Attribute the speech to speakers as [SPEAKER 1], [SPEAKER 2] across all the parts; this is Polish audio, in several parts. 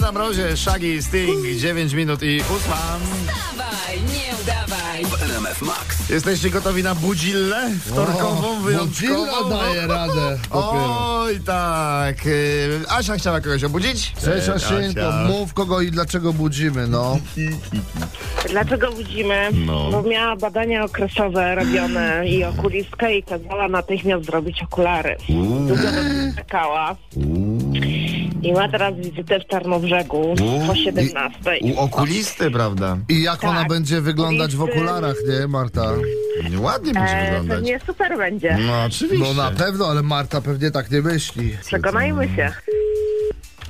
[SPEAKER 1] na mrozie, Shaggy Sting, 9 minut i 8.
[SPEAKER 2] Dawaj, nie udawaj.
[SPEAKER 3] RMF Max.
[SPEAKER 1] Jesteście gotowi na budzillę wtorkową, wyjątkową?
[SPEAKER 4] Godzilla daje radę. dopiero.
[SPEAKER 1] Oj tak. y, Asia chciała kogoś obudzić?
[SPEAKER 4] Cześć Asieńko, mów kogo i dlaczego budzimy, no.
[SPEAKER 5] Dlaczego budzimy?
[SPEAKER 1] No.
[SPEAKER 5] Bo miała badania okresowe robione i okulistkę i kazała natychmiast zrobić okulary. Długo do tego czekała. I ma teraz wizytę w Tarnobrzegu
[SPEAKER 1] Uuu.
[SPEAKER 5] po 17.
[SPEAKER 1] U okulisty, prawda?
[SPEAKER 4] I jak ona
[SPEAKER 5] Tak.
[SPEAKER 4] będzie wyglądać w
[SPEAKER 5] Listy.
[SPEAKER 4] okularach, nie Marta?
[SPEAKER 1] Ładnie będzie
[SPEAKER 5] E,
[SPEAKER 1] wyglądać.
[SPEAKER 5] pewnie super będzie.
[SPEAKER 1] No
[SPEAKER 4] No
[SPEAKER 1] oczywiście.
[SPEAKER 4] na pewno, ale Marta pewnie tak nie myśli.
[SPEAKER 5] Przekonajmy się.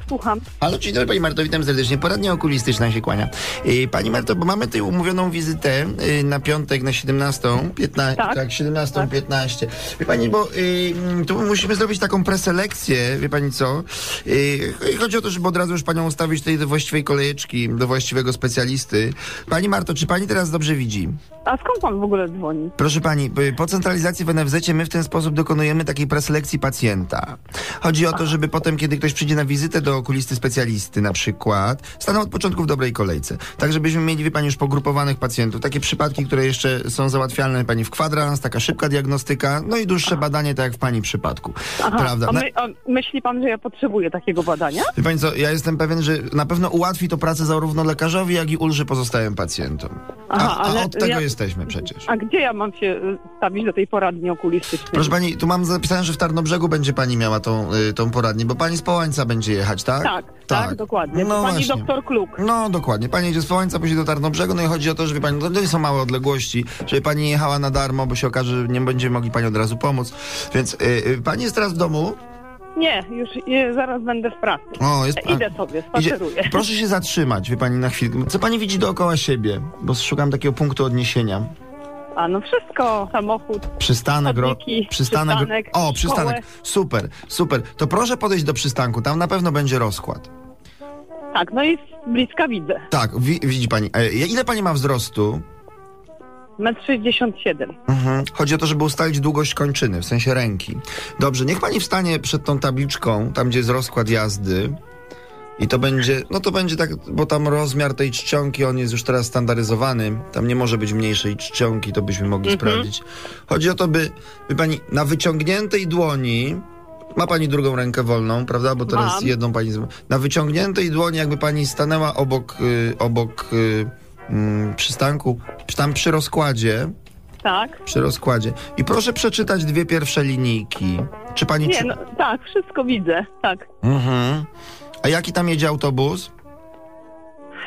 [SPEAKER 5] Słucham.
[SPEAKER 1] Halo, dzień dobry Pani Marto, witam serdecznie. Poradnia okulistyczna się kłania. Y, Pani Marto, bo mamy tutaj umówioną wizytę y, na piątek na 17, 15, tak,
[SPEAKER 5] Tak.
[SPEAKER 1] 17.15. Wie Pani, bo y, mm, tu musimy zrobić taką preselekcję, wie Pani co? Y, ch- chodzi o to, żeby od razu już Panią ustawić tutaj do właściwej kolejeczki, do właściwego specjalisty. Pani Marto, czy Pani teraz dobrze widzi?
[SPEAKER 5] A skąd pan w ogóle dzwoni?
[SPEAKER 1] Proszę pani, y, po centralizacji w NFZ my w ten sposób dokonujemy takiej preselekcji pacjenta. Chodzi o to, żeby potem, kiedy ktoś przyjdzie na wizytę do okulisty specjalisty na przykład, stanął od początku w dobrej kolejce. Tak, żebyśmy mieli, wie pani, już pogrupowanych pacjentów. Takie przypadki, które jeszcze są załatwialne, pani, w kwadrans, taka szybka diagnostyka, no i dłuższe badanie, tak jak w pani przypadku. Prawda?
[SPEAKER 5] A,
[SPEAKER 1] Na-
[SPEAKER 5] my, a myśli pan, że ja potrzebuję takiego badania?
[SPEAKER 1] Wie pani co, ja jestem pewien, że na pewno ułatwi to pracę zarówno lekarzowi, jak i ulży pozostałym pacjentom.
[SPEAKER 5] Aha,
[SPEAKER 1] a, a
[SPEAKER 5] ale
[SPEAKER 1] od tego
[SPEAKER 5] ja-
[SPEAKER 1] jesteśmy przecież.
[SPEAKER 5] A gdzie ja mam się y, stawić do tej poradni okulistycznej?
[SPEAKER 1] Proszę pani, tu mam zapisane, że w Tarnobrzegu będzie pani miała tą, y, tą poradnię, bo pani z Połańca będzie jechać, tak?
[SPEAKER 5] Tak, tak, dokładnie.
[SPEAKER 1] No
[SPEAKER 5] Pani
[SPEAKER 1] właśnie.
[SPEAKER 5] doktor Kluk.
[SPEAKER 1] No dokładnie. Pani jedzie z Połańca, później do Tarnobrzegu, no i chodzi o to, żeby pani, to nie są małe odległości, żeby pani jechała na darmo, bo się okaże, że nie będziemy mogli pani od razu pomóc. Więc y, y, pani jest teraz w domu.
[SPEAKER 5] Nie, już y, zaraz będę w pracy. E,
[SPEAKER 1] O, jest
[SPEAKER 5] Idę sobie, spaceruję.
[SPEAKER 1] Proszę się zatrzymać, wie pani, na chwilę. Co pani widzi dookoła siebie? Bo szukam takiego punktu odniesienia.
[SPEAKER 5] A no wszystko, samochód.
[SPEAKER 1] Przystanek, ro...
[SPEAKER 5] Chodniki,
[SPEAKER 1] przystanek.
[SPEAKER 5] przystanek,
[SPEAKER 1] O, przystanek.
[SPEAKER 5] szkołę.
[SPEAKER 1] Super, super. To proszę podejść do przystanku, tam na pewno będzie rozkład.
[SPEAKER 5] Tak, no i z bliska widzę.
[SPEAKER 1] Tak, wi widzi pani. E, ile pani ma wzrostu?
[SPEAKER 5] 1,67 m.
[SPEAKER 1] Mhm. Chodzi o to, żeby ustalić długość kończyny, w sensie ręki. Dobrze, niech pani wstanie przed tą tabliczką, tam gdzie jest rozkład jazdy. I to będzie, no to będzie tak, bo tam rozmiar tej czcionki, on jest już teraz standaryzowany. Tam nie może być mniejszej czcionki, to byśmy mogli sprawdzić. Chodzi o to, by, by pani na wyciągniętej dłoni, ma pani drugą rękę wolną, prawda? Bo teraz
[SPEAKER 5] Mam.
[SPEAKER 1] jedną pani. z- Na wyciągniętej dłoni, jakby pani stanęła obok, y, obok y, mm, przystanku, przy- tam przy rozkładzie,
[SPEAKER 5] Tak.
[SPEAKER 1] przy rozkładzie. I proszę przeczytać dwie pierwsze linijki. Czy pani.
[SPEAKER 5] Nie,
[SPEAKER 1] czy...
[SPEAKER 5] no, tak, wszystko widzę, tak.
[SPEAKER 1] Mhm. A jaki tam jedzie autobus?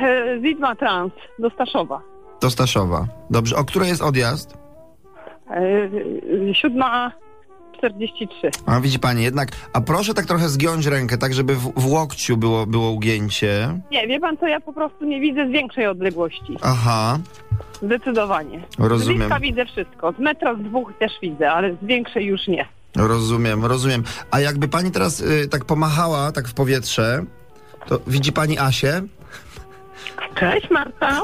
[SPEAKER 5] E, Widma Trans do Staszowa.
[SPEAKER 1] Do Staszowa. Dobrze. O której jest odjazd?
[SPEAKER 5] E, e, 7.43.
[SPEAKER 1] A widzi pani jednak. A proszę tak trochę zgiąć rękę, tak żeby w, w łokciu było, było ugięcie.
[SPEAKER 5] Nie, wie pan co, ja po prostu nie widzę z większej odległości.
[SPEAKER 1] Aha,
[SPEAKER 5] Zdecydowanie. Z
[SPEAKER 1] rozumiem.
[SPEAKER 5] bliska widzę wszystko. Z metra, z dwóch też widzę, ale z większej już nie.
[SPEAKER 1] Rozumiem, rozumiem. A jakby pani teraz y, tak pomachała, tak w powietrze, to widzi pani Asię?
[SPEAKER 5] Cześć Marta.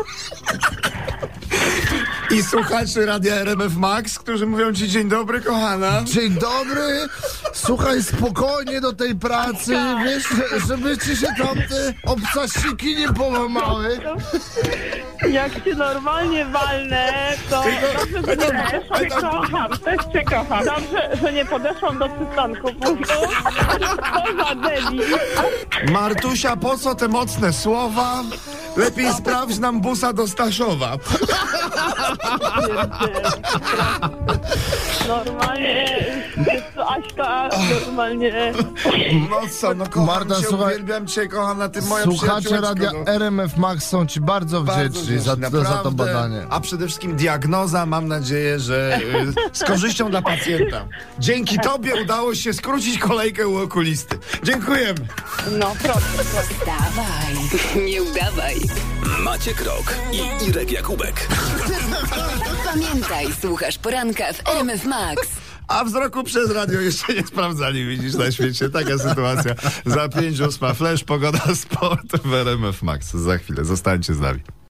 [SPEAKER 1] I słuchaczy radia RMF Max, którzy mówią ci dzień dobry, kochana.
[SPEAKER 4] Dzień dobry, słuchaj spokojnie do tej pracy, wiesz, że- żeby ci się tam te obcasiki nie połamały.
[SPEAKER 5] Jak cię normalnie walnę, to dobrze, że nie podeszłam. Cię kocham, też cię kocham. Dobrze, że nie podeszłam do przystanku punktu. Co za debil.
[SPEAKER 1] Martusia, po co te mocne słowa? Lepiej sprawdź nam busa do Staszowa.
[SPEAKER 5] Normalnie, wiesz co, Aśka, normalnie.
[SPEAKER 1] Mocno, no kocham
[SPEAKER 4] Marta,
[SPEAKER 1] cię,
[SPEAKER 4] słuchaj-
[SPEAKER 1] uwielbiam cię, kochana, ty moja
[SPEAKER 4] Słuchacze
[SPEAKER 1] przyjaciółeczko,
[SPEAKER 4] radia
[SPEAKER 1] no.
[SPEAKER 4] RMF Max są ci bardzo
[SPEAKER 1] Bardzo
[SPEAKER 4] wdzięczni za,
[SPEAKER 1] wdzięczny,
[SPEAKER 4] za to
[SPEAKER 1] naprawdę.
[SPEAKER 4] badanie.
[SPEAKER 1] A przede wszystkim diagnoza, mam nadzieję, że y, z korzyścią dla pacjenta. Dzięki tobie udało się skrócić kolejkę u okulisty. Dziękujemy.
[SPEAKER 5] No, proszę.
[SPEAKER 2] Dawaj, nie udawaj.
[SPEAKER 3] Maciek Rok i Irek Jakubek.
[SPEAKER 2] Pamiętaj, słuchasz poranka w RMF Max.
[SPEAKER 1] A wzroku przez radio jeszcze nie sprawdzali, widzisz, na świecie. Taka sytuacja. Za 5 ósma, flash, pogoda, sport w RMF Max. Za chwilę, zostańcie z nami.